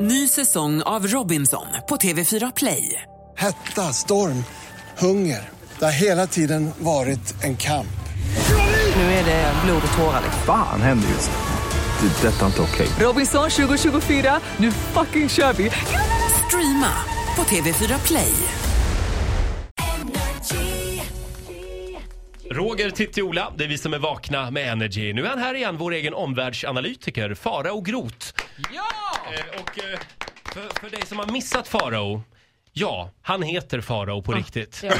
Ny säsong av Robinson på TV4 Play. Hetta, storm, hunger. Det har hela tiden varit en kamp. Nu är det blod och tårar. Fan händer just nu. Det. är Detta är inte okej. Robinson 2024, nu fucking kör vi! Streama på TV4 Play. Roger Tittiola, det är vi som är vakna med Energy. Nu är han här igen, vår egen omvärldsanalytiker, Farao Groth. Ja! Och eh, för, för dig som har missat Farao, ja, han heter Farao på riktigt.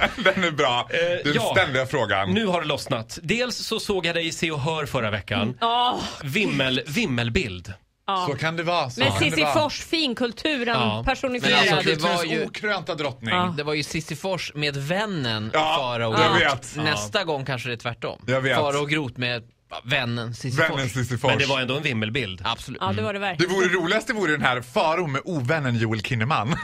Eh, Den är bra. Den ja. ständiga frågan. Nu har det lossnat. Dels så såg jag dig i Se och Hör förra veckan. Ja, Vimmel, vimmelbild. Så kan det vara. Så men kan det vara. Sisyfos, finkulturen Ja. personifierad. Men alltså, Ja, det var Kulturens ju- okrönta drottning. Det var ju Sisyfors med vännen Ja, Farao jag Groth. vet. Nästa gång kanske det är tvärtom. Jag vet. Farao Groth med vännen Sisyfors. Vännen Sisyfors. Men det var ändå en vimmelbild. Absolut. Ja, det var det Det verkligen. vore roligaste vore den här Faro med ovännen Joel Kinnaman.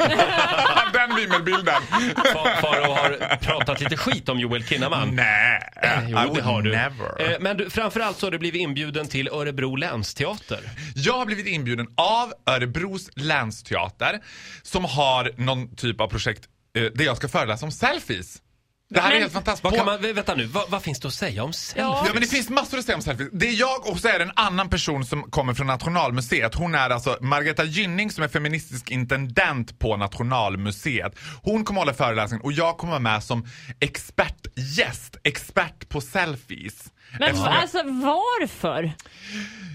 den vimmelbilden. Fa- Farao har pratat lite skit om Joel Kinnaman. Nej, Eh, Jo, I det would har du. never. Eh, Men du, framförallt så har du blivit inbjuden till Örebro länsteater. Jag har blivit inbjuden av Örebros länsteater som har någon typ av projekt eh, där jag ska föreläsa om selfies. Det här är Men- helt fantastiskt. Vad På- kan man, vä- vänta nu, vad, vad finns det att säga om selfies? Ja men det finns massor att säga om selfies. Det är jag och så är det en annan person som kommer från Nationalmuseet. Hon är alltså Margareta Gynning som är feministisk intendent på Nationalmuseet. Hon kommer hålla föreläsningen och jag kommer vara med som expertgäst, expert på selfies. Men Eftersom jag- alltså varför?